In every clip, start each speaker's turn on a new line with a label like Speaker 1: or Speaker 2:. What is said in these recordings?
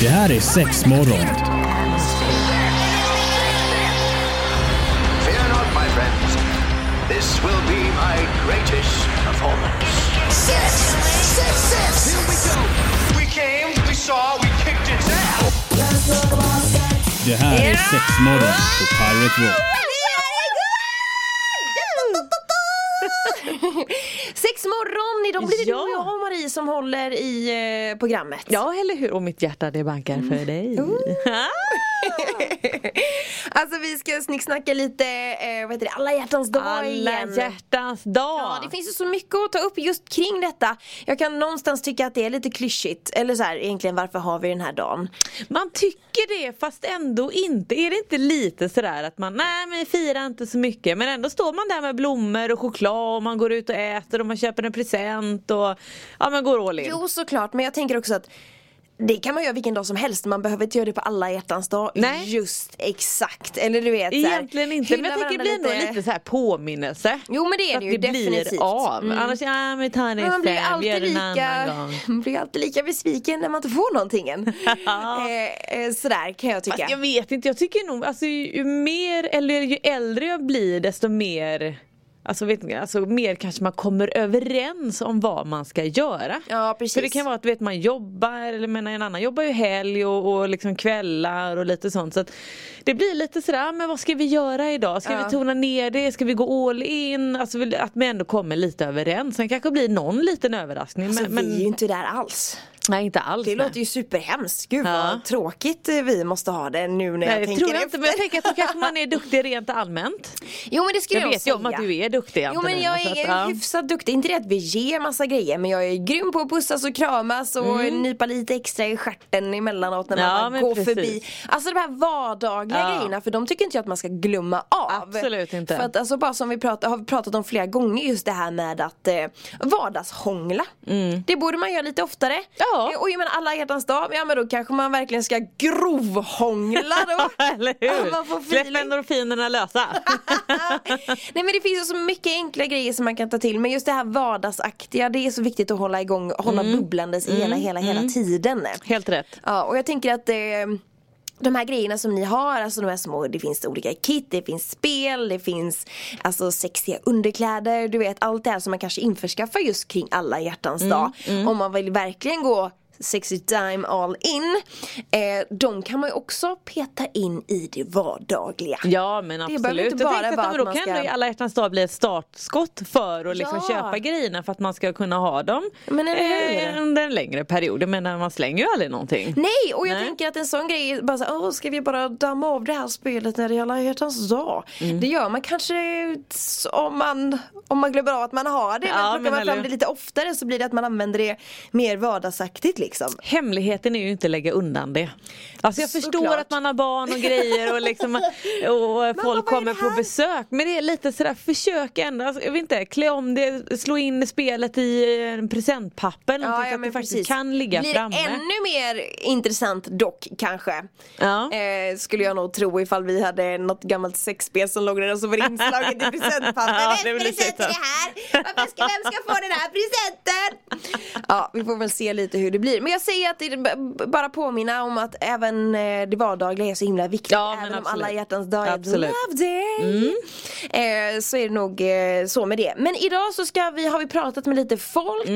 Speaker 1: Det här är sex morgon.
Speaker 2: Fear not, my friends. This will be my greatest performance.
Speaker 3: Six, six, six. Here we go.
Speaker 2: We came, we saw, we kicked its ass.
Speaker 1: Det här är sex morgon på Pirate Rock.
Speaker 4: Sex morgon idag blir det
Speaker 5: Ja.
Speaker 4: du och jag och Marie som håller i eh, programmet.
Speaker 5: Ja, eller hur? Och mitt hjärta det bankar
Speaker 4: Mm.
Speaker 5: för dig.
Speaker 4: Oh. Alltså vi ska snicksnacka lite, eh, vad heter det, alla hjärtans dag
Speaker 5: Alla
Speaker 4: igen.
Speaker 5: hjärtans dag!
Speaker 4: Ja, det finns ju så mycket att ta upp just kring detta. Jag kan någonstans tycka att det är lite klyschigt. Eller så här, egentligen varför har vi den här dagen?
Speaker 5: Man tycker det fast ändå inte. Är det inte lite sådär att man, nej men firar inte så mycket. Men ändå står man där med blommor och choklad och man går ut och äter och man köper en present och ja man går all in.
Speaker 4: Jo såklart, men jag tänker också att det kan man göra vilken dag som helst, man behöver inte göra det på alla hjärtans dag
Speaker 5: Nej.
Speaker 4: just exakt. Eller du vet så här,
Speaker 5: Egentligen inte, men
Speaker 4: hylla
Speaker 5: jag tänker det
Speaker 4: varandra
Speaker 5: blir nog lite så här påminnelse.
Speaker 4: Jo, men det är
Speaker 5: Så
Speaker 4: det
Speaker 5: att
Speaker 4: ju,
Speaker 5: det
Speaker 4: definitivt.
Speaker 5: blir av.
Speaker 4: Mm.
Speaker 5: Annars, ja men ta det
Speaker 4: Men man blir ju
Speaker 5: sen, vi gör
Speaker 4: alltid
Speaker 5: det en annan
Speaker 4: lika,
Speaker 5: gång.
Speaker 4: man blir ju alltid lika besviken när man inte får någonting än. eh, eh, sådär kan jag tycka.
Speaker 5: Fast Alltså, jag vet inte, jag tycker nog alltså ju ju mer eller ju äldre jag blir desto mer Alltså, vet, ni, alltså mer kanske man kommer överens om vad man ska göra.
Speaker 4: Ja, precis.
Speaker 5: För det kan vara att vet, man jobbar, eller menar en annan jobbar ju helg och, och liksom kvällar och lite sånt. Så att det blir lite sådär, ah, men vad ska vi göra idag? Ska
Speaker 4: Ja.
Speaker 5: vi tona ner det? Ska vi gå all in? Alltså vill- att man ändå kommer lite överens. Sen kanske blir någon liten överraskning.
Speaker 4: alltså,
Speaker 5: men,
Speaker 4: vi är
Speaker 5: men
Speaker 4: ju inte där alls.
Speaker 5: nej inte alls.
Speaker 4: Det
Speaker 5: nej.
Speaker 4: låter ju superhemskt. Gud
Speaker 5: Ja.
Speaker 4: vad tråkigt eh, vi måste ha det nu när
Speaker 5: Nej,
Speaker 4: jag
Speaker 5: det
Speaker 4: tänker
Speaker 5: tror jag
Speaker 4: efter.
Speaker 5: inte, men jag tänker att då kanske man är duktig rent allmänt.
Speaker 4: Jo men det skulle
Speaker 5: Jag vet ju
Speaker 4: säga.
Speaker 5: om att du är duktig
Speaker 4: Jo men
Speaker 5: Antonina,
Speaker 4: jag
Speaker 5: så att,
Speaker 4: är
Speaker 5: ja.
Speaker 4: hyfsat duktig, inte det att vi ger massa grejer men jag är grym på att pussas och kramas och nypa lite extra i stjärten emellanåt när man
Speaker 5: Mm. Ja,
Speaker 4: bara
Speaker 5: men
Speaker 4: går
Speaker 5: precis.
Speaker 4: förbi. Alltså de här vardagliga
Speaker 5: Ja.
Speaker 4: grejerna för de tycker inte jag att man ska glömma av.
Speaker 5: Absolut inte.
Speaker 4: För att alltså bara som vi pratar, har pratat om flera gånger just det här med att eh, vardagshångla. Det borde man göra lite oftare.
Speaker 5: Mm. Ja.
Speaker 4: Eh, Och jag menar alla hjärtans dag, ja men då kanske man verkligen ska grovhångla då.
Speaker 5: Eller
Speaker 4: Ja, man får
Speaker 5: hur? Släpp
Speaker 4: feeling.
Speaker 5: endorfinerna lösa.
Speaker 4: Nej men det finns ju så mycket enkla grejer som man kan ta till men just det här vardagsaktiga det är så viktigt att hålla igång, hålla bubblandes hela hela hela tiden.
Speaker 5: Helt rätt.
Speaker 4: Ja och jag tänker att eh, de här grejerna som ni har, alltså de här små, det finns olika kit, det finns spel, det finns alltså sexiga underkläder, du vet allt det här som man kanske införskaffar just kring alla hjärtans dag. Om man vill verkligen gå sexy time all in, eh, de kan man ju också peta in i det vardagliga.
Speaker 5: Ja men
Speaker 4: behöver
Speaker 5: absolut.
Speaker 4: inte bara
Speaker 5: jag tänkte
Speaker 4: vara
Speaker 5: att, men
Speaker 4: att
Speaker 5: då
Speaker 4: man
Speaker 5: kan
Speaker 4: ska-
Speaker 5: ändå alla hjärtans dag bli ett startskott för att liksom
Speaker 4: Ja.
Speaker 5: köpa grejerna för att man ska kunna ha dem
Speaker 4: Men eller hur?
Speaker 5: eh, under en längre period. Jag menar man slänger ju aldrig någonting.
Speaker 4: Nej, och jag
Speaker 5: Nej.
Speaker 4: tänker att en sån grej, är bara så, här, Åh, ska vi bara damma av det här spelet när det är alla hjärtans dag?
Speaker 5: Mm.
Speaker 4: Det gör man kanske s- om man, om man glömmer av att man har det,
Speaker 5: Ja,
Speaker 4: men
Speaker 5: men
Speaker 4: plockar man
Speaker 5: eller
Speaker 4: fram
Speaker 5: hur?
Speaker 4: det lite oftare så blir det att man använder det mer vardagsaktigt liksom.
Speaker 5: Hemligheten är ju inte att lägga undan det. Alltså jag förstår
Speaker 4: Såklart.
Speaker 5: att man har barn och grejer och, liksom, och
Speaker 4: vad är
Speaker 5: folk kommer
Speaker 4: det här?
Speaker 5: på besök. Men det är lite sådär, försök ändå, alltså, jag vet inte, klä om det, slå in spelet i eh, en presentpapper någonting så att det faktiskt kan ligga
Speaker 4: blir
Speaker 5: framme. Mm.
Speaker 4: ännu mer intressant dock kanske.
Speaker 5: Ja.
Speaker 4: Eh, skulle jag nog tro ifall vi hade något gammalt sexspel som låg där och så var det inslaget i presentpapper.
Speaker 5: Ja, det
Speaker 4: Vems
Speaker 5: blir
Speaker 4: present är det
Speaker 5: så.
Speaker 4: här? Varför ska, vem ska få den här presenten? Ja, vi får väl se lite hur det blir. Men jag säger att det, b- bara påminna om att även eh, det vardagliga är så himla viktigt.
Speaker 5: Ja, men
Speaker 4: även om
Speaker 5: absolut.
Speaker 4: alla hjärtans dag är ett
Speaker 5: Absolut.
Speaker 4: love day. Mm. Eh, så är det nog eh, så med det. Men idag så ska vi, har vi pratat med lite folk. Eh,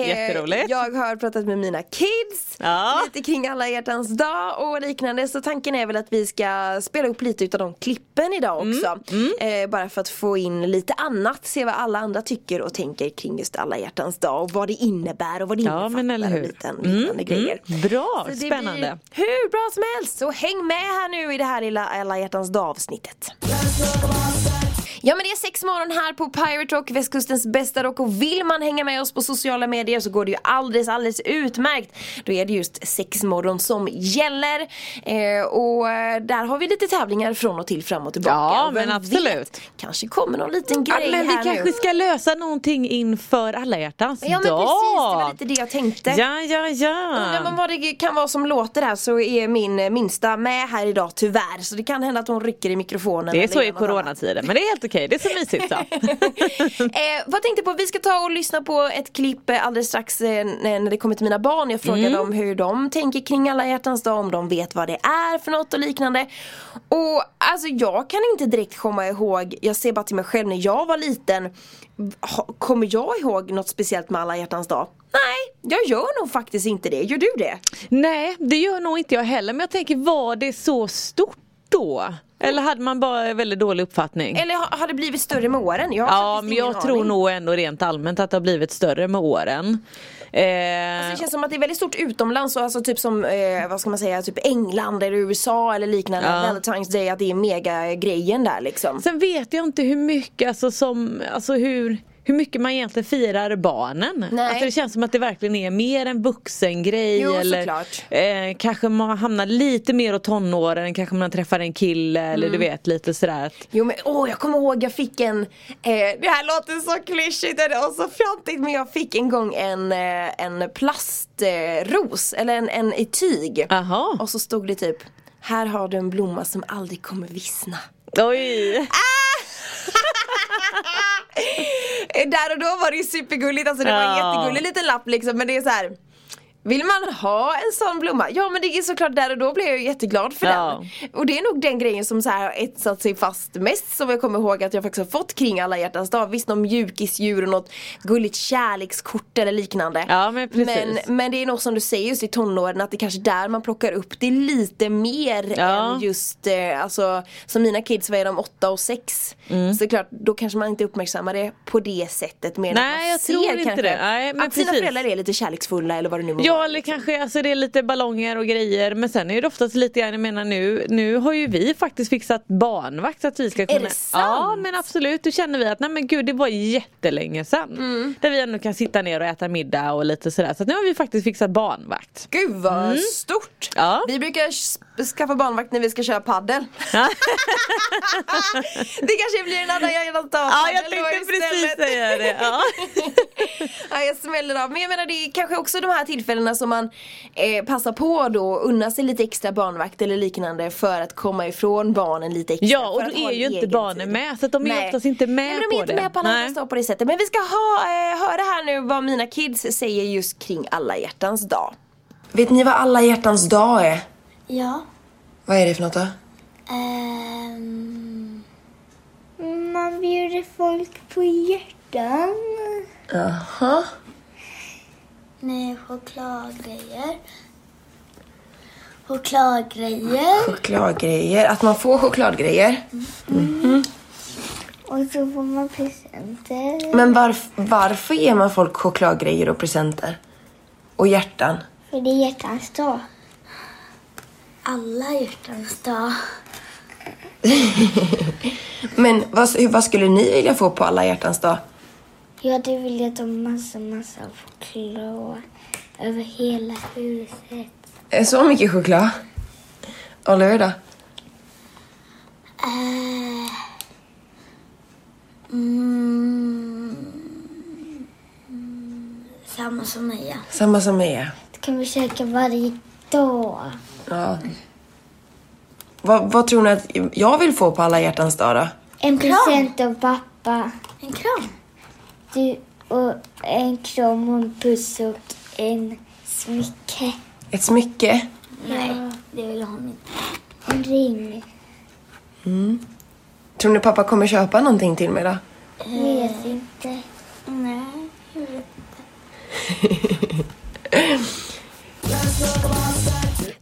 Speaker 5: Mm. jätteroligt.
Speaker 4: Jag har pratat med mina kids.
Speaker 5: Ja.
Speaker 4: Lite kring alla hjärtans dag och liknande. Så tanken är väl att vi ska spela upp lite utav de klippen idag
Speaker 5: Mm.
Speaker 4: också. Eh, bara för att få in lite annat. Se vad alla andra tycker och tänker kring just alla hjärtans dag. Och vad det innebär och vad det
Speaker 5: Ja,
Speaker 4: innefattar.
Speaker 5: men eller hur. Mm,
Speaker 4: Och lite, liknande grejer.
Speaker 5: Bra,
Speaker 4: Så det
Speaker 5: spännande.
Speaker 4: Blir hur bra som helst. Så häng med här nu i det här lilla alla hjärtans dag avsnittet. Ja men det är sex morgon här på Pirate Rock, västkustens bästa rock och vill man hänga med oss på sociala medier så går det ju alldeles alldeles utmärkt. Då är det just sex morgon som gäller eh, och eh, där har vi lite tävlingar från och till fram och tillbaka.
Speaker 5: Ja,
Speaker 4: och
Speaker 5: men
Speaker 4: vem
Speaker 5: absolut.
Speaker 4: kanske kommer någon liten
Speaker 5: Ja,
Speaker 4: grej
Speaker 5: men vi
Speaker 4: här
Speaker 5: kanske
Speaker 4: nu.
Speaker 5: ska lösa någonting inför alla hjärtans
Speaker 4: Ja men precis, det
Speaker 5: dag.
Speaker 4: var lite det jag tänkte.
Speaker 5: Ja, ja,
Speaker 4: Undrar man
Speaker 5: ja.
Speaker 4: vad det kan vara som låter här så är min eh, minsta med här idag tyvärr. Så det kan hända att hon rycker i mikrofonen.
Speaker 5: Det är
Speaker 4: eller
Speaker 5: så
Speaker 4: gör
Speaker 5: i
Speaker 4: något annat.
Speaker 5: coronatiden, men det är helt okej. okej, det är så mysigt så.
Speaker 4: eh, vad jag tänkte på, vi ska ta och lyssna på ett klipp eh, alldeles strax eh, n- när det kommer till mina barn. Jag frågar
Speaker 5: Mm.
Speaker 4: dem hur de tänker kring alla hjärtans dag, om de vet vad det är för något och liknande. Och alltså jag kan inte direkt komma ihåg, jag ser bara till mig själv när jag var liten. ha- Kommer jag ihåg något speciellt med alla hjärtans dag? Nej, jag gör nog faktiskt inte det. Gör du det?
Speaker 5: Nej, det gör nog inte jag heller. Men jag tänker, var det så stort då? Eller hade man bara en väldigt dålig uppfattning?
Speaker 4: Eller ha- har det blivit större med åren? Jag har
Speaker 5: Mm. Ja,
Speaker 4: faktiskt
Speaker 5: men
Speaker 4: ingen
Speaker 5: jag
Speaker 4: aning.
Speaker 5: tror nog ändå rent allmänt att det har blivit större med åren. Eh,
Speaker 4: Alltså, det känns som att det är väldigt stort utomlands, och alltså typ som eh, vad ska man säga, typ England eller USA eller liknande.
Speaker 5: Ja.
Speaker 4: Valentine's Day, att det är mega grejen där liksom.
Speaker 5: Sen vet jag inte hur mycket, alltså, som, alltså hur, hur mycket man egentligen firar barnen.
Speaker 4: Nej.
Speaker 5: Alltså, det känns som att det verkligen är mer en vuxengrej.
Speaker 4: Jo,
Speaker 5: eller
Speaker 4: såklart.
Speaker 5: eh, kanske man hamnar lite mer åt tonåren, kanske man träffar en kille eller
Speaker 4: Mm.
Speaker 5: du vet lite sådär. att-
Speaker 4: Jo men åh jag kommer ihåg jag fick en, eh, det här låter så klyschigt och så fjantigt men jag fick en gång en, eh, en plastros eh, ros, eller en, en i tyg.
Speaker 5: Jaha.
Speaker 4: Och så stod det typ, här har du en blomma som aldrig kommer vissna.
Speaker 5: Oj!
Speaker 4: Eh, Där och då var det ju supergulligt, alltså det var en
Speaker 5: Ja.
Speaker 4: jättegullig liten lapp liksom men det är så här. Vill man ha en sån blomma? Ja men det är såklart där och då blev jag ju jätteglad för
Speaker 5: Ja.
Speaker 4: den. Och det är nog den grejen som så här har etsat sig fast mest som jag kommer ihåg att jag faktiskt har fått kring alla hjärtans dag. Visst någon mjukisdjur och något gulligt kärlekskort eller liknande.
Speaker 5: Ja, men precis.
Speaker 4: men, men det är nog som du säger just i tonåren att det kanske är där man plockar upp det lite mer
Speaker 5: Ja.
Speaker 4: än just eh, alltså som mina kids var är de åtta och sex.
Speaker 5: Mm.
Speaker 4: Så det är klart då kanske man inte uppmärksammar det på det sättet mer än
Speaker 5: Nej,
Speaker 4: att man
Speaker 5: jag
Speaker 4: ser
Speaker 5: tror inte
Speaker 4: kanske
Speaker 5: det. Nej, men
Speaker 4: att sina
Speaker 5: precis.
Speaker 4: föräldrar är lite kärleksfulla eller vad det nu må
Speaker 5: Ja
Speaker 4: vara.
Speaker 5: eller kanske alltså det är lite ballonger och grejer men sen är det oftast lite grann, jag menar nu, nu har ju vi faktiskt fixat barnvakt så att vi ska kunna
Speaker 4: det sant?
Speaker 5: Ja men absolut, då känner vi att nej men gud det var jättelänge sedan.
Speaker 4: Mm.
Speaker 5: Där vi ändå kan sitta ner och äta middag och lite sådär så att nu har vi faktiskt fixat barnvakt.
Speaker 4: Gud vad stort!
Speaker 5: Mm. Ja.
Speaker 4: Vi brukar s- skaffa barnvakt när vi ska köra paddel. det kanske blir en annan hjärtans dag
Speaker 5: Ja jag
Speaker 4: paddel då
Speaker 5: tänkte
Speaker 4: istället.
Speaker 5: precis säga det. Ja.
Speaker 4: Ja, jag smäller av. Men jag menar det är kanske också de här tillfällena som man eh, passar på då och unnar sig lite extra barnvakt eller liknande för att komma ifrån barnen lite extra.
Speaker 5: Ja, och
Speaker 4: för
Speaker 5: då
Speaker 4: att ha
Speaker 5: är
Speaker 4: en
Speaker 5: ju inte
Speaker 4: egen
Speaker 5: barnen med, så att de är oftast inte med
Speaker 4: Nej, men de är
Speaker 5: på
Speaker 4: inte
Speaker 5: det.
Speaker 4: med på alla
Speaker 5: Nej.
Speaker 4: hjärtans dag på det sättet. Men vi ska ha, eh, höra här nu vad mina kids säger just kring alla hjärtans dag. Vet ni vad alla hjärtans dag är?
Speaker 6: Ja.
Speaker 4: Vad är det för något då?
Speaker 6: ehm, man bjuder folk på hjärtan.
Speaker 4: Jaha.
Speaker 6: Nej, chokladgrejer. Chokladgrejer.
Speaker 4: Chokladgrejer. Att man får chokladgrejer.
Speaker 6: Och så får man presenter.
Speaker 4: Men varför ger man folk chokladgrejer och presenter? Och hjärtan?
Speaker 6: För det är hjärtans dag. Alla hjärtans dag.
Speaker 4: Men vad, hur- vad skulle ni vilja få på alla hjärtans dag?
Speaker 6: Jag hade velat ha massa, massa choklad över hela huset.
Speaker 4: Eh, Så mycket choklad? Oliver då?
Speaker 6: Eh, Mm. Samma som Mia.
Speaker 4: Samma som mig.
Speaker 6: Det kan vi käka varje dag.
Speaker 4: Ja. Vad, vad tror ni att jag vill få på alla hjärtans dag då?
Speaker 6: En present av pappa. En kram. Du, och en kram och en puss och en smycke.
Speaker 4: Ett smycke?
Speaker 6: Nej, det vill hon inte. En ring.
Speaker 4: Tror ni pappa kommer köpa någonting till mig då?
Speaker 6: Vet inte. Nej.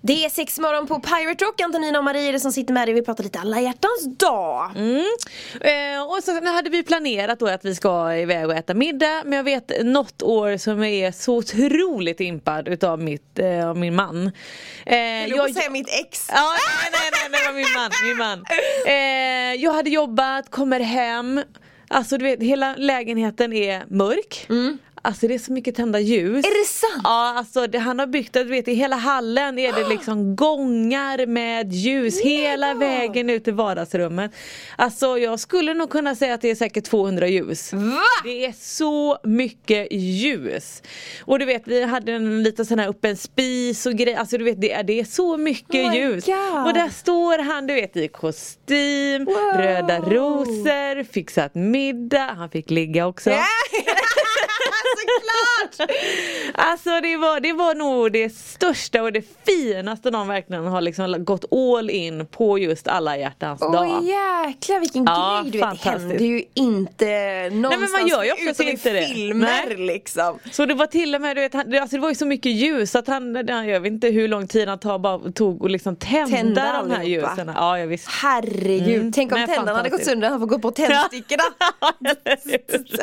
Speaker 4: Det är sex morgon på Pirate Rock. Antonina och Marie är det som sitter med dig. Vi pratar lite alla hjärtans dag.
Speaker 5: Eh, och sen hade vi planerat då att vi ska iväg och äta middag men jag vet något år som jag är så otroligt impad utav mitt, eh, av min man. Eh, jag-
Speaker 4: mitt ex.
Speaker 5: Ja, nej, nej, nej, nej, det var min man. Min man. Eh, jag hade jobbat, kommer hem. Alltså du vet, hela lägenheten är mörk. Alltså det är så mycket tända ljus.
Speaker 4: Mm. Är det sant?
Speaker 5: Ja, alltså det, han har byggt, du vet i hela hallen är det liksom gångar med ljus hela vägen ut till vardagsrummen. Alltså jag skulle nog kunna säga att det är säkert 200 ljus.
Speaker 4: Va?
Speaker 5: Det är så mycket ljus. Och du vet vi hade en liten sån här öppen spis och grejer. Alltså du vet det är, det är så mycket
Speaker 4: Oh my
Speaker 5: ljus.
Speaker 4: God.
Speaker 5: Och där står han du vet i kostym,
Speaker 4: Wow.
Speaker 5: röda rosor, fixat middag. Han fick ligga också.
Speaker 4: Såklart!
Speaker 5: Alltså det var, det var nog det största och det finaste någon verkligen har liksom gått all in på just alla hjärtans
Speaker 4: Åh
Speaker 5: dag.
Speaker 4: jäklar vilken
Speaker 5: Ja,
Speaker 4: grej, du vet det
Speaker 5: fantastiskt.
Speaker 4: händer ju inte någonstans
Speaker 5: gör ju oftast
Speaker 4: utom
Speaker 5: inte
Speaker 4: i
Speaker 5: det.
Speaker 4: filmer
Speaker 5: Nej.
Speaker 4: liksom.
Speaker 5: Så det var till och med, du vet, han, det- alltså det var ju så mycket ljus att han, han jag vet inte hur lång tid han tar, bara, tog och liksom tända,
Speaker 4: Tända
Speaker 5: de här
Speaker 4: allihopa.
Speaker 5: ljusen. Ja, jag visste.
Speaker 4: Herregud,
Speaker 5: Mm.
Speaker 4: tänk om
Speaker 5: Nej,
Speaker 4: tänderna hade gått
Speaker 5: fantastiskt.
Speaker 4: sönder han får gå på tändstickorna.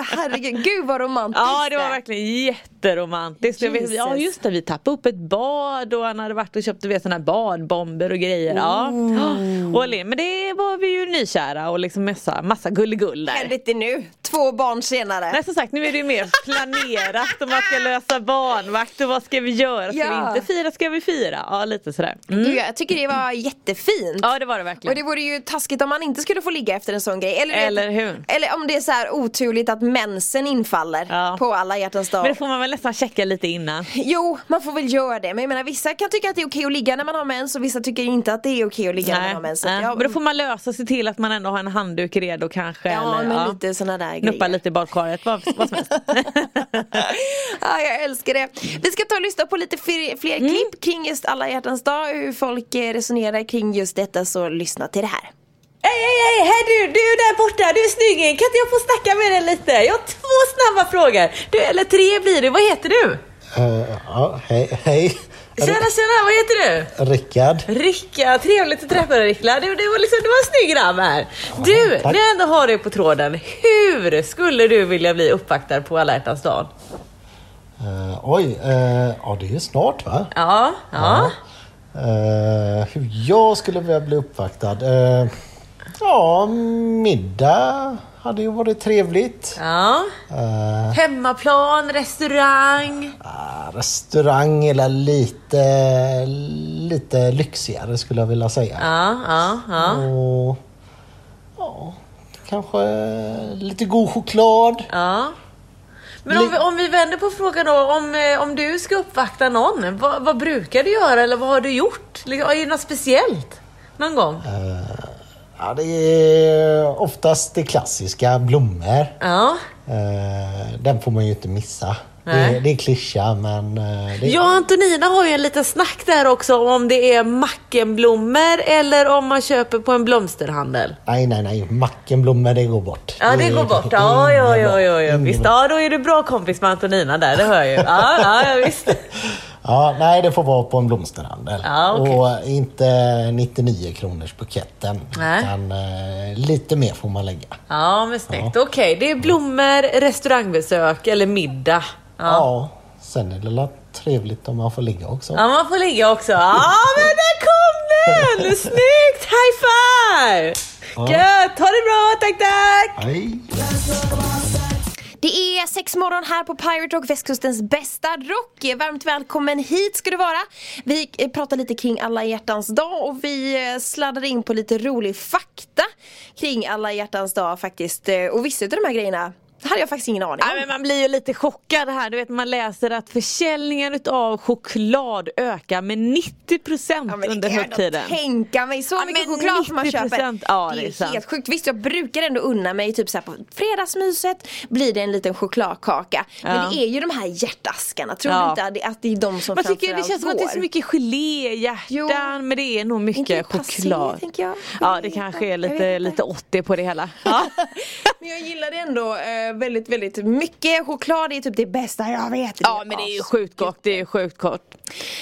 Speaker 4: Herregud, gud vad romantiskt.
Speaker 5: Ja det var verkligen jätteromantiskt. Jag vet, ja
Speaker 4: Jesus.
Speaker 5: just det, vi tappade upp ett bad och han hade varit och köpt du vet, såna här badbomber och grejer. Ja. Och, le- men det var vi ju nykära och liksom massa, massa gulligull där.
Speaker 4: Händer inte nu, två barn senare.
Speaker 5: Nej som sagt nu är det ju mer planerat och man ska lösa barnvakt och vad ska vi göra? Ska
Speaker 4: Ja.
Speaker 5: vi inte fira? Ska vi fira? Ja lite sådär. Mm.
Speaker 4: Du, jag tycker det var jättefint.
Speaker 5: Ja det var det verkligen.
Speaker 4: Och det vore ju taskigt om man inte skulle få ligga efter en sån grej. Eller, du vet-
Speaker 5: Eller hur?
Speaker 4: Eller om det är så här oturligt att mensen infaller
Speaker 5: Ja.
Speaker 4: på alla hjärtans dag.
Speaker 5: Men det får man väl nästan checka lite innan.
Speaker 4: Jo, man får väl göra det. Men jag menar vissa kan tycka att det är okej att ligga när man har mens och vissa tycker inte att det är okej att ligga när man har mens. Så att
Speaker 5: nej.
Speaker 4: jag-
Speaker 5: Men då får man lösa sig till att man ändå har en handduk redo kanske.
Speaker 4: Ja,
Speaker 5: eller,
Speaker 4: men lite såna där
Speaker 5: Knuppa
Speaker 4: grejer.
Speaker 5: lite i badkaret, vad, vad som helst.
Speaker 4: ja, jag älskar det. Vi ska ta och lyssna på lite fler, fler
Speaker 5: Mm.
Speaker 4: klipp kring just alla hjärtans dag. Hur folk eh, resonerar kring just detta så lyssna till det här.
Speaker 5: Hej, hej, hej, hej du, du där borta, du är snygging. Kan inte jag få snacka med dig lite? Jag har två snabba frågor. Du, eller tre blir det. Vad heter du?
Speaker 7: Eh, ja, hej, hej.
Speaker 5: Tjena, tjena, vad heter du?
Speaker 7: Rickard.
Speaker 5: Ricka, trevligt att träffa dig Rickla. Du, du, var liksom, du var en snygg grabb här. Du,
Speaker 7: tack.
Speaker 5: när jag ändå har dig på tråden. Hur skulle du vilja bli uppvaktad på alla hjärtans dag?
Speaker 7: Eh, oj, eh, ja det är ju snart va?
Speaker 5: Ja, ja.
Speaker 7: Eh, hur jag skulle vilja bli uppvaktad? Eh, ja, middag hade ju varit trevligt.
Speaker 5: ja.
Speaker 7: Eh,
Speaker 5: Hemmaplan, restaurang.
Speaker 7: ah, restaurang eller lite, lite lyxigare skulle jag vilja säga.
Speaker 5: Ja, ja, ja.
Speaker 7: Och ja, kanske lite god choklad.
Speaker 5: ja. Men om vi, om vi vänder på frågan då, om, eh, om du ska uppvakta någon, vad, vad brukar du göra eller vad har du gjort? Liksom, Är det något speciellt? Någon gång?
Speaker 7: Eh, Ja, det är oftast det klassiska, blommor.
Speaker 5: Ja.
Speaker 7: Eh, den får man ju inte missa.
Speaker 5: Nej.
Speaker 7: Det, det är klyscha men... eh, det,
Speaker 5: Jag och Antonina har ju en liten snack där också om det är mackenblommor eller om man köper på en blomsterhandel.
Speaker 7: Nej, nej, nej. Mackenblommor, det Mm. går bort.
Speaker 5: Ja det går bort. Ja,
Speaker 7: inget
Speaker 5: ja, ja,
Speaker 7: bra,
Speaker 5: ja, ja.
Speaker 7: inget
Speaker 5: visst.
Speaker 7: bra.
Speaker 5: Ja, då är du bra kompis med Antonina där, det hör jag ju. Ja, ja, ja visst.
Speaker 7: Ja, nej, det får vara på en blomsterhandel.
Speaker 5: Ja, okej.
Speaker 7: Och eh, inte 99 kronors buketten.
Speaker 5: Nej.
Speaker 7: Utan eh, lite mer får man lägga. Ja.
Speaker 5: Ja, men snyggt. Okej, det är blommor, restaurangbesök eller middag. Ja.
Speaker 7: Sen är det väl trevligt om man får ligga också.
Speaker 5: Ja, man får ligga också. Ja, men där kom den! Snyggt! High five! Gött! Ha det bra, tack, tack!
Speaker 7: Hej!
Speaker 4: Det är sex morgon här på Pirate Rock, västkustens bästa rock. Varmt välkommen hit ska du vara. Vi eh, pratar lite kring alla hjärtans dag och vi eh, sladdade in på lite rolig fakta kring alla hjärtans dag faktiskt. Eh, Och vissa av de här grejerna hade jag faktiskt ingen aning
Speaker 5: Ja, men
Speaker 4: om.
Speaker 5: man blir ju lite chockad här. Du vet man läser att försäljningen av choklad ökar med 90%
Speaker 4: Ja, men det
Speaker 5: under
Speaker 4: kan jag
Speaker 5: högtiden.
Speaker 4: ändå tänka mig, så
Speaker 5: Ja,
Speaker 4: mycket
Speaker 5: men
Speaker 4: choklad får man köper.
Speaker 5: 90%. Ja,
Speaker 4: det
Speaker 5: det
Speaker 4: är
Speaker 5: är
Speaker 4: ju
Speaker 5: sant.
Speaker 4: helt sjukt. Visst jag brukar ändå unna mig typ så här på fredagsmyset blir det en liten chokladkaka. Men
Speaker 5: Ja.
Speaker 4: det är ju de här hjärtaskarna, tror
Speaker 5: Ja.
Speaker 4: du inte att det- att det är de som
Speaker 5: Man tycker det
Speaker 4: framförallt
Speaker 5: känns som att det är så
Speaker 4: går?
Speaker 5: mycket
Speaker 4: Jo.
Speaker 5: geléhjärtan men det är nog
Speaker 4: Inte
Speaker 5: mycket
Speaker 4: det passé,
Speaker 5: choklad.
Speaker 4: tänker jag?
Speaker 5: Ja det
Speaker 4: Jag
Speaker 5: kanske
Speaker 4: vet
Speaker 5: är
Speaker 4: inte. Jag
Speaker 5: lite,
Speaker 4: vet inte.
Speaker 5: lite 80 på det hela. Ja.
Speaker 4: Men jag gillar det ändå eh, väldigt, väldigt mycket. Choklad är typ det bästa jag vet.
Speaker 5: ja men det är ju sjukt gott, det är ju sjukt gott.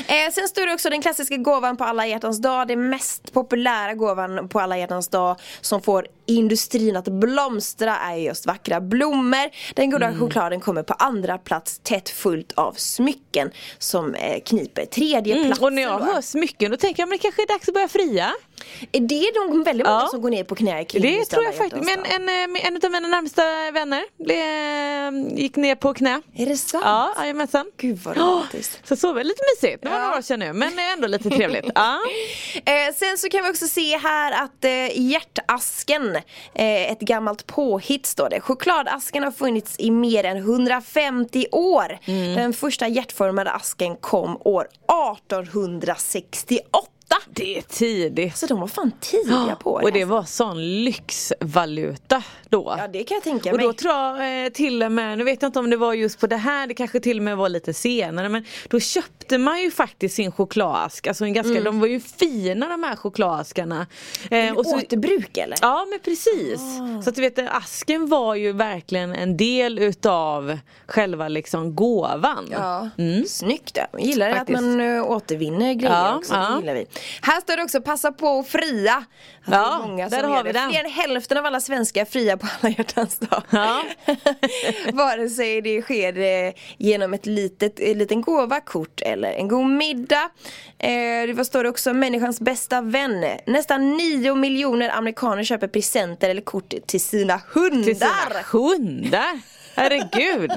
Speaker 4: Eh, sen står det också den klassiska gåvan på alla hjärtans dag. Den mest populära gåvan på alla hjärtans dag som får industrin att blomstra är just vackra blommor. Den
Speaker 5: Mm.
Speaker 4: goda chokladen kommer på andra plats tätt fullt av smycken som eh, kniper tredje
Speaker 5: Mm.
Speaker 4: platsen.
Speaker 5: Och när jag
Speaker 4: då.
Speaker 5: hör smycken då tänker jag men det kanske är dags att börja fria.
Speaker 4: Det är nog väldigt många
Speaker 5: Ja.
Speaker 4: som går ner på knä kring
Speaker 5: Det
Speaker 4: just
Speaker 5: tror
Speaker 4: alla
Speaker 5: jag faktiskt.
Speaker 4: hjärtans
Speaker 5: Men
Speaker 4: dag.
Speaker 5: en, eh, en av mina närmsta vänner blev, gick ner på knä.
Speaker 4: Är det sant?
Speaker 5: Ja, jajamensan.
Speaker 4: Gud vad romantiskt.
Speaker 5: Så så var det lite mysigt. Det var några år sedan nu men ändå lite trevligt. Ja.
Speaker 4: Eh, sen så kan vi också se här att eh, hjärtasken, eh, ett gammalt påhitt står det. Chokladasken har funnits i mer än 150 år.
Speaker 5: Mm.
Speaker 4: Den första hjärtformade asken kom år 1868.
Speaker 5: Det är tidigt.
Speaker 4: Så de var fan tidiga på
Speaker 5: Och det var sån lyxvaluta då.
Speaker 4: Ja det kan jag tänka
Speaker 5: Och
Speaker 4: mig.
Speaker 5: då tror jag eh, till och med, nu vet jag inte om det var just på det här, det kanske till och med var lite senare men då köpte man ju faktiskt sin chokladask, alltså en ganska,
Speaker 4: Mm.
Speaker 5: de var ju fina de här chokladaskarna. Eh, och så-
Speaker 4: Återbruk eller? Ah.
Speaker 5: Ja men precis. Så att du vet asken var ju verkligen en del utav själva liksom gåvan. Mm.
Speaker 4: Ja, snyggt. Jag gillar det att
Speaker 5: Faktiskt.
Speaker 4: man ö, återvinner grejer
Speaker 5: Ja,
Speaker 4: också. Det
Speaker 5: ja.
Speaker 4: gillar vi. Här står det också passa på att fria. Att det
Speaker 5: Ja,
Speaker 4: är många
Speaker 5: där
Speaker 4: som
Speaker 5: har
Speaker 4: gör
Speaker 5: vi
Speaker 4: det.
Speaker 5: den.
Speaker 4: Fler än hälften av alla svenskar fria på alla hjärtans dag.
Speaker 5: Ja.
Speaker 4: Vare sig det sker eh, genom ett litet, en liten gåva, kort eller en god middag. Eh, det- vad står det också? Människans bästa vän. Nästan 9 miljoner amerikaner köper presenter eller kort till sina hundar.
Speaker 5: Till sina hundar. Herregud.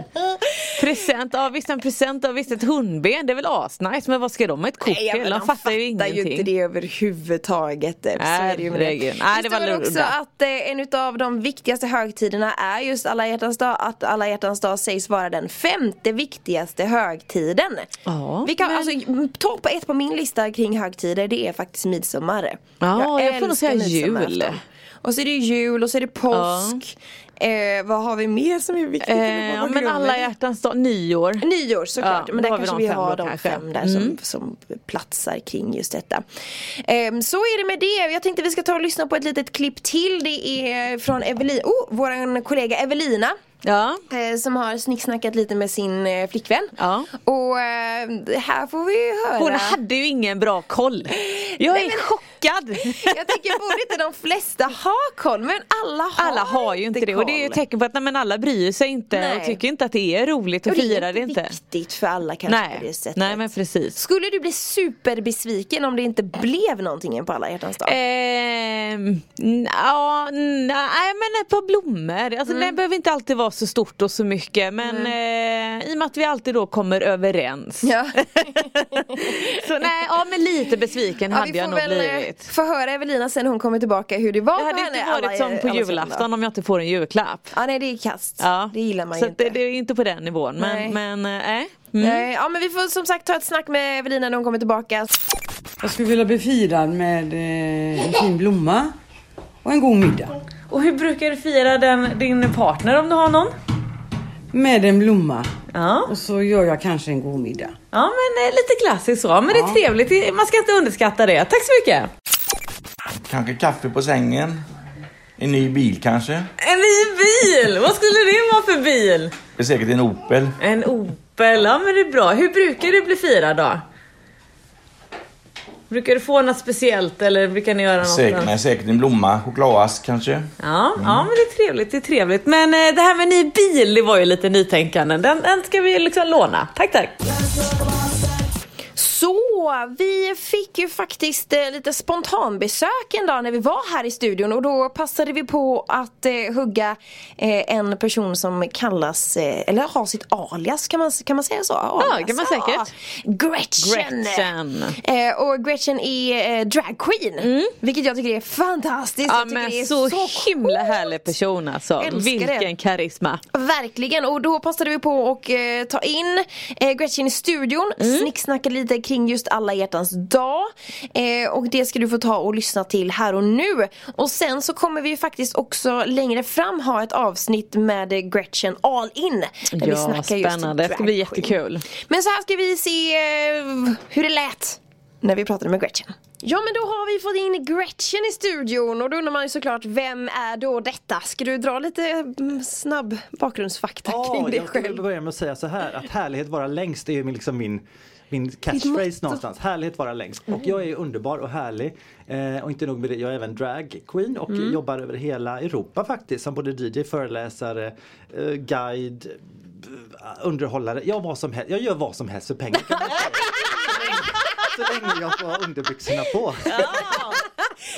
Speaker 5: present, ja visst en present, ja visst ett hundben, det är väl asnice men vad ska de med ett kort
Speaker 4: Nej,
Speaker 5: till?
Speaker 4: men
Speaker 5: De fattar ju
Speaker 4: ju inte
Speaker 5: ingenting.
Speaker 4: det överhuvudtaget. typ. Så är det ju med
Speaker 5: Herregud.
Speaker 4: det.
Speaker 5: Nej,
Speaker 4: Det
Speaker 5: det var
Speaker 4: står väl också
Speaker 5: udda.
Speaker 4: att eh, en av de viktigaste högtiderna är just alla hjärtans dag. Att alla hjärtans dag sägs vara den femte viktigaste högtiden.
Speaker 5: Ja,
Speaker 4: Vi kan,
Speaker 5: men-
Speaker 4: alltså, m- topp ett på min lista kring högtider det är faktiskt midsommar.
Speaker 5: Ja, jag får nog
Speaker 4: älskar
Speaker 5: säga jul.
Speaker 4: midsommarafton. Och så är det jul och så är det påsk. Eh, vad har vi mer som är viktigt?
Speaker 5: Eh, ja,
Speaker 4: Vad
Speaker 5: men
Speaker 4: glömmer
Speaker 5: alla
Speaker 4: vi?
Speaker 5: hjärtans dag, nyår.
Speaker 4: Nyår såklart,
Speaker 5: Ja,
Speaker 4: men
Speaker 5: då
Speaker 4: där
Speaker 5: har vi
Speaker 4: kanske
Speaker 5: de
Speaker 4: vi
Speaker 5: fem
Speaker 4: har
Speaker 5: då,
Speaker 4: de
Speaker 5: kanske. Mm.
Speaker 4: fem där som, som platsar kring just detta. Ehm, så är det med det. Jag tänkte vi ska ta och lyssna på ett litet klipp till. Det är från Evelina, oh, vår kollega Evelina.
Speaker 5: Ja.
Speaker 4: eh, Som har snicksnackat lite med sin eh, flickvän.
Speaker 5: Ja.
Speaker 4: Och eh, här får vi höra.
Speaker 5: Hon hade ju ingen bra koll. Jag
Speaker 4: Nej,
Speaker 5: är
Speaker 4: men-
Speaker 5: chockad.
Speaker 4: Jag tycker borde inte de flesta ha koll, men alla har,
Speaker 5: Alla har ju inte det och det är ju ett
Speaker 4: koll.
Speaker 5: tecken på att nej, men alla bryr sig inte
Speaker 4: Nej.
Speaker 5: och tycker inte att det är roligt och,
Speaker 4: Och
Speaker 5: firar det inte.
Speaker 4: viktigt för alla kanske på det
Speaker 5: Nej.
Speaker 4: sättet.
Speaker 5: nej men precis.
Speaker 4: Skulle du bli superbesviken om det inte blev någonting på alla hjärtans dag?
Speaker 5: Ehm, n- ja, n- nej men ett par blommor. Alltså,
Speaker 4: Mm.
Speaker 5: Det behöver inte alltid vara så stort och så mycket men eh, i och med att vi alltid då kommer överens.
Speaker 4: Mm. Ja.
Speaker 5: Så nej, ja men lite besviken
Speaker 4: ja,
Speaker 5: hade
Speaker 4: vi
Speaker 5: jag
Speaker 4: får
Speaker 5: nog
Speaker 4: väl eh,
Speaker 5: blivit.
Speaker 4: få höra Evelina sen hon kommer tillbaka hur det var
Speaker 5: Det hade
Speaker 4: för
Speaker 5: inte
Speaker 4: henne alla-
Speaker 5: varit som på
Speaker 4: alla
Speaker 5: julafton
Speaker 4: söndag.
Speaker 5: om jag inte får en julklapp.
Speaker 4: Ja nej det är kast.
Speaker 5: Ja.
Speaker 4: Det gillar man
Speaker 5: så
Speaker 4: ju
Speaker 5: att det,
Speaker 4: inte.
Speaker 5: det är inte på den nivån
Speaker 4: Nej.
Speaker 5: men, men eh, nej. Mm.
Speaker 4: Nej, ja men vi får som sagt ta ett snack med Evelina när hon kommer tillbaka.
Speaker 8: Jag skulle vilja bli firad med eh, en fin blomma och en god middag.
Speaker 5: Och hur brukar du fira den, din partner om du har någon?
Speaker 8: Med en blomma.
Speaker 5: Ja,
Speaker 8: Och så gör jag kanske en god middag.
Speaker 5: ja men eh, lite klassiskt så. Men det är trevligt, Det- man ska inte underskatta det. Tack så mycket!
Speaker 9: Kanske kaffe på sängen. En ny bil kanske.
Speaker 5: En ny bil! Vad skulle det vara för bil?
Speaker 9: Det är säkert en Opel.
Speaker 5: En Opel, ja men det är bra. Hur brukar du bli firad då? Brukar du få något speciellt eller brukar ni göra något?
Speaker 9: Säkert, nej, säkert en blomma. Chokladask kanske.
Speaker 5: Ja, ja men det är trevligt, det är trevligt. Men eh, det här med ny bil, det var ju lite nytänkande. Den, den ska vi liksom låna. Tack, tack.
Speaker 4: Så vi fick ju faktiskt eh, lite spontanbesök en dag när vi var här i studion och då passade vi på att eh, hugga eh, en person som kallas, eh, eller har sitt alias kan man, kan man säga så? Alias,
Speaker 5: kan man säkert.
Speaker 4: Gretchen.
Speaker 5: Gretchen. Mm.
Speaker 4: Eh, och Gretchen är eh, drag queen. Vilket jag tycker är fantastiskt.
Speaker 5: Ja
Speaker 4: jag tycker
Speaker 5: men
Speaker 4: det är
Speaker 5: så, himla
Speaker 4: coolt.
Speaker 5: härlig person alltså.
Speaker 4: Älskar det.
Speaker 5: Vilken karisma.
Speaker 4: Verkligen, och då passade vi på att eh, ta in eh, Gretchen i studion,
Speaker 5: Mm.
Speaker 4: snicksnacka lite kring just alla hjärtans dag. Eh, och det ska du få ta och lyssna till här och nu. Och sen så kommer vi faktiskt också längre fram ha ett avsnitt med eh, Gretchen All In. Där vi
Speaker 5: Ja,
Speaker 4: snackar
Speaker 5: spännande.
Speaker 4: just
Speaker 5: Det ska bli
Speaker 4: drag queen.
Speaker 5: jättekul.
Speaker 4: Men så här ska vi se eh, hur det lät när vi pratade med Gretchen. Ja men då har vi fått in Gretchen i studion och då undrar man ju såklart vem är då detta? Ska du dra lite mm, snabb bakgrundsfakta kring
Speaker 10: Ja,
Speaker 4: dig
Speaker 10: jag vill
Speaker 4: själv?
Speaker 10: börja med att säga så här att härlighet vara längst är ju liksom min min catchphrase någonstans. Härlighet vara längst. Och jag är underbar och härlig. Eh, och inte nog med det, jag är även drag queen och
Speaker 4: Mm.
Speaker 10: jobbar över hela Europa faktiskt som både DJ, föreläsare, eh, guide, b- underhållare. Jag, vad som helst. jag gör vad som helst för pengar. Kan man säga. så länge jag får underbyxorna på.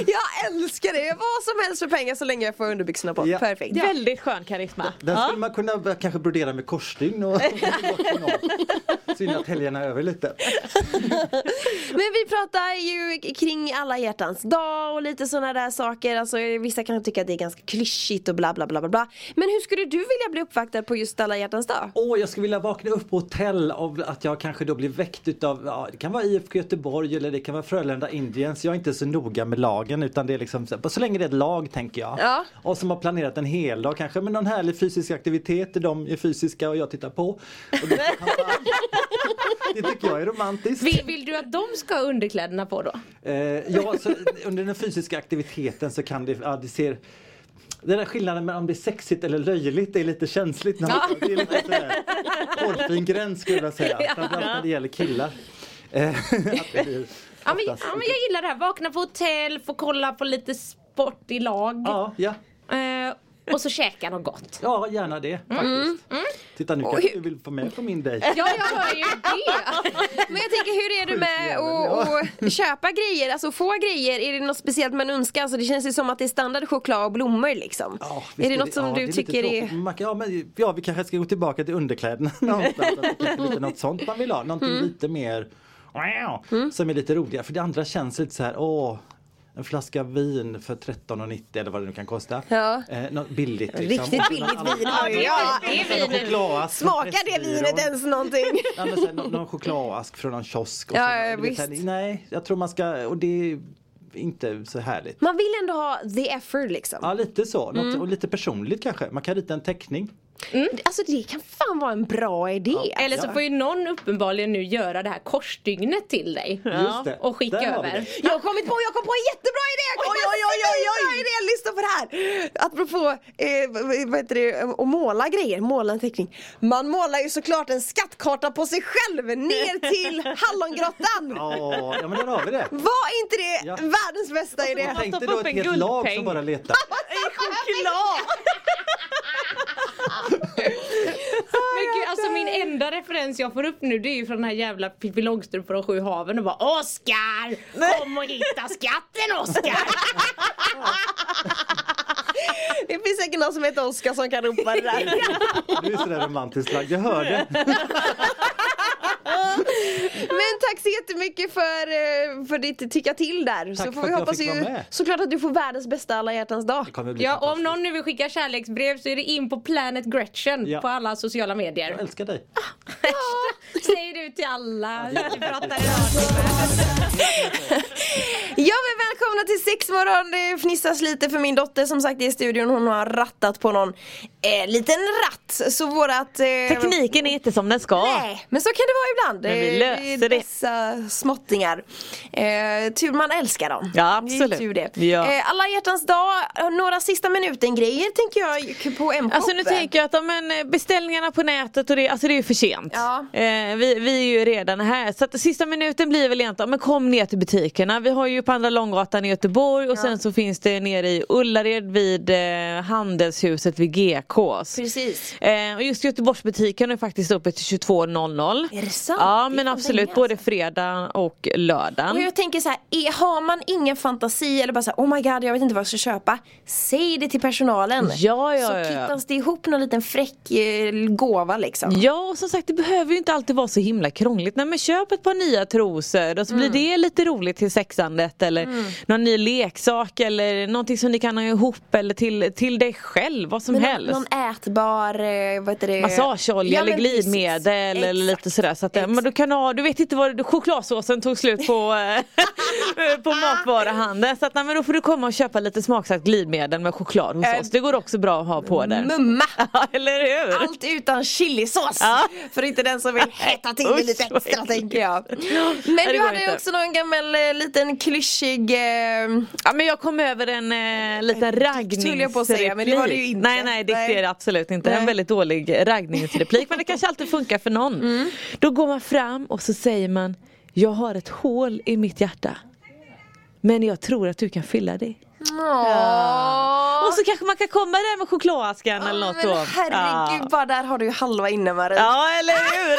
Speaker 4: Jag älskar det! Vad som helst för pengar så länge jag får underbyxorna på.
Speaker 10: Ja.
Speaker 4: Perfekt.
Speaker 5: Väldigt skön karisma.
Speaker 10: Den
Speaker 5: Ja.
Speaker 10: skulle man kunna börja kanske brodera med korsstygn och Synd att helgerna är över lite.
Speaker 4: Men vi pratar ju kring alla hjärtans dag och lite sådana där saker. Alltså, vissa kan tycka att det är ganska klyschigt och bla bla bla bla bla. Men hur skulle du vilja bli uppvaktad på just alla hjärtans dag?
Speaker 10: Åh, jag skulle vilja vakna upp på hotell av att jag kanske då blir väckt utav, ja, det kan vara IFK Göteborg eller det kan vara Frölunda Indians. Jag är inte så noga med lagen utan det är liksom, så här, så länge det är ett lag tänker jag.
Speaker 4: Ja.
Speaker 10: Och som har planerat en hel dag kanske med någon härlig fysisk aktivitet där de är fysiska och jag tittar på. Och det, det tycker jag är romantiskt.
Speaker 11: Vill, vill du att de ska ha underkläderna på då?
Speaker 10: Eh, ja, så under den fysiska aktiviteten så kan det, ja det ser den där skillnaden mellan om det är sexigt eller löjligt det är lite känsligt. När man, Det är lite sådär hårfin gräns skulle jag säga. Framförallt när det gäller killar. Eh, att det blir
Speaker 11: Ja men, ja
Speaker 10: oftast-
Speaker 11: men jag gillar det här, vakna på hotell, få kolla på lite sport i lag.
Speaker 10: ja, ja,
Speaker 11: Eh, och så käka något gott.
Speaker 10: ja, gärna det faktiskt. Titta nu kanske du vill vara med på min dejt.
Speaker 11: Ja jag hör ju det.
Speaker 4: Men jag tänker hur är du med att att köpa grejer, alltså få grejer? Är det något speciellt man önskar? Alltså, det känns ju som att det är standard choklad och blommor liksom.
Speaker 10: Ja, visst
Speaker 4: är det något som
Speaker 10: ja,
Speaker 4: du
Speaker 10: det lite
Speaker 4: tycker
Speaker 10: tråkigt.
Speaker 4: är...
Speaker 10: Man kan- Ja, men, ja, vi kanske ska gå tillbaka till underkläderna någonstans. Att det kanske är lite något sånt man vill ha. Någonting lite mer som är lite roligare. För det andra känns lite så här, åh. En flaska vin för 13,90 eller vad det nu kan kosta.
Speaker 4: Ja.
Speaker 10: Eh, något billigt. Liksom.
Speaker 4: Riktigt billigt vin har ju jag.
Speaker 10: Chokladask.
Speaker 4: Smakar det vinet ens någonting?
Speaker 10: Ja, men sen, någon, någon chokladask från någon kiosk. Och
Speaker 4: Ja,
Speaker 10: så-
Speaker 4: ja,
Speaker 10: du vet,
Speaker 4: visst.
Speaker 10: här, Nej, jag tror man ska, och det är inte så härligt.
Speaker 4: Man vill ändå ha the effort liksom.
Speaker 10: Ja, lite så. Något, Och lite personligt kanske. Man kan rita en teckning.
Speaker 4: Alltså det kan fan vara en bra idé.
Speaker 11: Eller så får ju någon uppenbarligen nu göra det här korsstygnet till dig.
Speaker 10: Just det.
Speaker 11: Och skicka
Speaker 10: Där har vi
Speaker 11: över.
Speaker 10: det.
Speaker 4: Jag har kommit på, jag kom på en jättebra idé! Jag kom oj, oj, oj, oj, oj. Bra idé. Lyssna på det här! Apropå, eh, vad- vad heter det, eh, att måla grejer, måla en teckning. Man målar ju såklart en skattkarta på sig själv ner till Hallongrottan!
Speaker 10: Ja, ja, men där har vi det.
Speaker 4: Var inte det
Speaker 10: Ja.
Speaker 4: världens bästa idé?
Speaker 10: Jag tänkte
Speaker 5: stoppa
Speaker 10: då
Speaker 5: upp
Speaker 10: ett
Speaker 5: en
Speaker 10: helt lag som
Speaker 5: guldpeng.
Speaker 10: bara letar.
Speaker 4: Choklad!
Speaker 11: Men gud, alltså min enda referens jag får upp nu det är ju från den här jävla Pippi Långstrump från Sju haven och bara Oskar! Kom och hitta skatten Oskar!
Speaker 4: Det finns säkert någon som heter Oskar som kan ropa det där.
Speaker 10: Du är sådär romantiskt lagd, jag hörde.
Speaker 4: Men tack så jättemycket för, eh, för ditt tycka till där. så
Speaker 10: Tack
Speaker 4: får
Speaker 10: för
Speaker 4: vi
Speaker 10: att jag
Speaker 4: hoppas
Speaker 10: fick
Speaker 4: ju
Speaker 10: vara med.
Speaker 4: såklart att du får världens bästa alla hjärtans dag.
Speaker 10: Det kommer bli
Speaker 11: Ja, och om
Speaker 10: fantastiskt.
Speaker 11: någon nu vill skicka kärleksbrev så är det in på Planet Gretchen
Speaker 10: Ja.
Speaker 11: på alla sociala medier. Ah,
Speaker 10: Jag älskar dig.
Speaker 11: Säger du till alla.
Speaker 10: Ja, det-
Speaker 11: Vi pratar idag.
Speaker 4: Ja men välkomna till sexmorgon, det fnissas lite för min dotter som sagt är i studion, hon har rattat på någon eh, liten ratt. Så vårat... Eh,
Speaker 5: Alltså, Tekniken är inte som den ska.
Speaker 4: Nej, men så kan det vara ibland.
Speaker 5: Men vi
Speaker 4: Eh,
Speaker 5: löser det.
Speaker 4: Dessa småttingar. Eh, tur man älskar dem.
Speaker 5: Ja,
Speaker 4: Det är
Speaker 5: absolut.
Speaker 4: ju tur det.
Speaker 5: Ja.
Speaker 4: Eh, alla hjärtans dag, eh, några sista minuten grejer tänker jag på M-shop.
Speaker 5: Alltså nu tänker jag att ja, men, eh, beställningarna på nätet och det, alltså det är ju för sent.
Speaker 4: Ja.
Speaker 5: Eh, vi, vi är ju redan här så att sista minuten blir väl egentligen, men kom ner till butikerna. Vi har ju på Andra Långgatan i Göteborg och sen så finns det nere i Ullared vid eh, Handelshuset vid GKs.
Speaker 4: Precis.
Speaker 5: Eh, och just Göteborgsbutiken är faktiskt uppe till 22.00.
Speaker 4: Är det sant?
Speaker 5: Ja
Speaker 4: Det
Speaker 5: men
Speaker 4: är fan
Speaker 5: absolut,
Speaker 4: länge,
Speaker 5: både fredag och lördag.
Speaker 4: Och jag tänker så här, är, har man ingen fantasi eller bara så här, oh my god jag vet inte vad jag ska köpa. Säg det till personalen.
Speaker 5: Ja, ja,
Speaker 4: så
Speaker 5: ja, ja.
Speaker 4: kittas det ihop någon liten fräck eh, gåva liksom.
Speaker 5: Ja och som sagt det behöver ju inte alltid vara så himla krångligt. Nej men köp ett par nya trosor och så
Speaker 4: Mm.
Speaker 5: blir det lite roligt till sexandet eller någon ny leksak eller någonting som ni kan ha ihop eller till, till dig själv, vad som
Speaker 4: Men
Speaker 5: helst.
Speaker 4: Någon, någon ätbar, eh, vad heter det?
Speaker 5: Massageolja
Speaker 4: Ja,
Speaker 5: eller
Speaker 4: men precis.
Speaker 5: glidmedel eller
Speaker 4: Exakt.
Speaker 5: lite sådär. Så att, eh, men du, kan ha, du vet inte vad chokladsåsen tog slut på, eh,
Speaker 4: Ah.
Speaker 5: på matvaruhandeln. Så att, nej, men då får du komma och köpa lite smaksatt glidmedel med choklad hos
Speaker 4: Eh,
Speaker 5: oss. Det går också bra att ha på där.
Speaker 4: Mumma!
Speaker 5: Ja, eller hur?
Speaker 4: Allt utan chilisås!
Speaker 5: Ja.
Speaker 4: För inte den som vill hetta till det
Speaker 5: Usch,
Speaker 4: lite
Speaker 5: vad
Speaker 4: extra
Speaker 5: äckligt.
Speaker 4: tänker jag.
Speaker 5: Nej,
Speaker 4: Men
Speaker 5: det
Speaker 4: du
Speaker 5: går
Speaker 4: hade ju
Speaker 5: inte.
Speaker 4: också någon gammal eh, liten klyschig eh,
Speaker 5: Ja men jag kom över en eh, liten raggningsreplik.
Speaker 4: höll jag på att säga, men det var det ju inte.
Speaker 5: Nej nej dikt
Speaker 4: Nej.
Speaker 5: är det absolut inte.
Speaker 4: Nej.
Speaker 5: En väldigt dålig raggningsreplik men det kanske alltid funkar för någon.
Speaker 4: Mm.
Speaker 5: Då går man fram och så säger man Jag har ett hål i mitt hjärta. Men jag tror att du kan fylla det. Och så kanske man kan komma där med chokladaskan eller något
Speaker 4: Men
Speaker 5: då.
Speaker 4: herregud, Ah!
Speaker 5: Ja.
Speaker 4: bara där har du ju halva innemaret.
Speaker 5: Ja eller hur!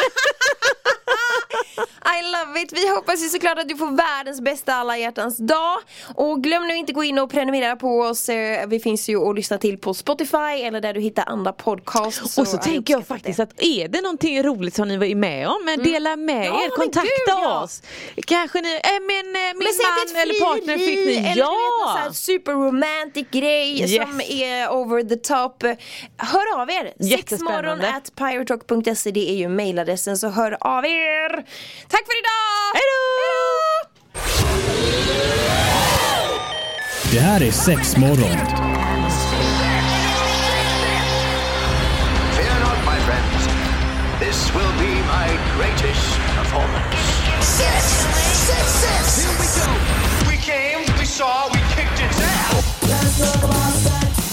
Speaker 4: I love it! Vi hoppas ju såklart att du får världens bästa alla hjärtans dag. Och glöm nu inte gå in och prenumerera på oss. Eh, Vi finns ju att lyssna till på Spotify eller där du hittar andra podcasts.
Speaker 5: och så tänker jag faktiskt att är det någonting roligt som ni var med om, men dela med
Speaker 4: Mm. Ja,
Speaker 5: er,
Speaker 4: men
Speaker 5: kontakta
Speaker 4: gud, ja.
Speaker 5: oss. Kanske ni, äh, men eh, min
Speaker 4: Men säg att
Speaker 5: man
Speaker 4: ett
Speaker 5: eller partner
Speaker 4: frieri
Speaker 5: fick ni.
Speaker 4: Eller du vet, någon sån här superromantic grej
Speaker 5: Yes.
Speaker 4: som är over the top. Hör av er!
Speaker 5: Jättespännande.
Speaker 4: Sexmorgon at pyrotalk.se det är ju mejladressen så hör av er! Tack för idag! Hejdå!
Speaker 1: Det här är sexmorgon.
Speaker 2: Fear not, my friends. This will be my greatest performance.
Speaker 3: Six, six, six. Here we go. We came, we saw, we kicked it down.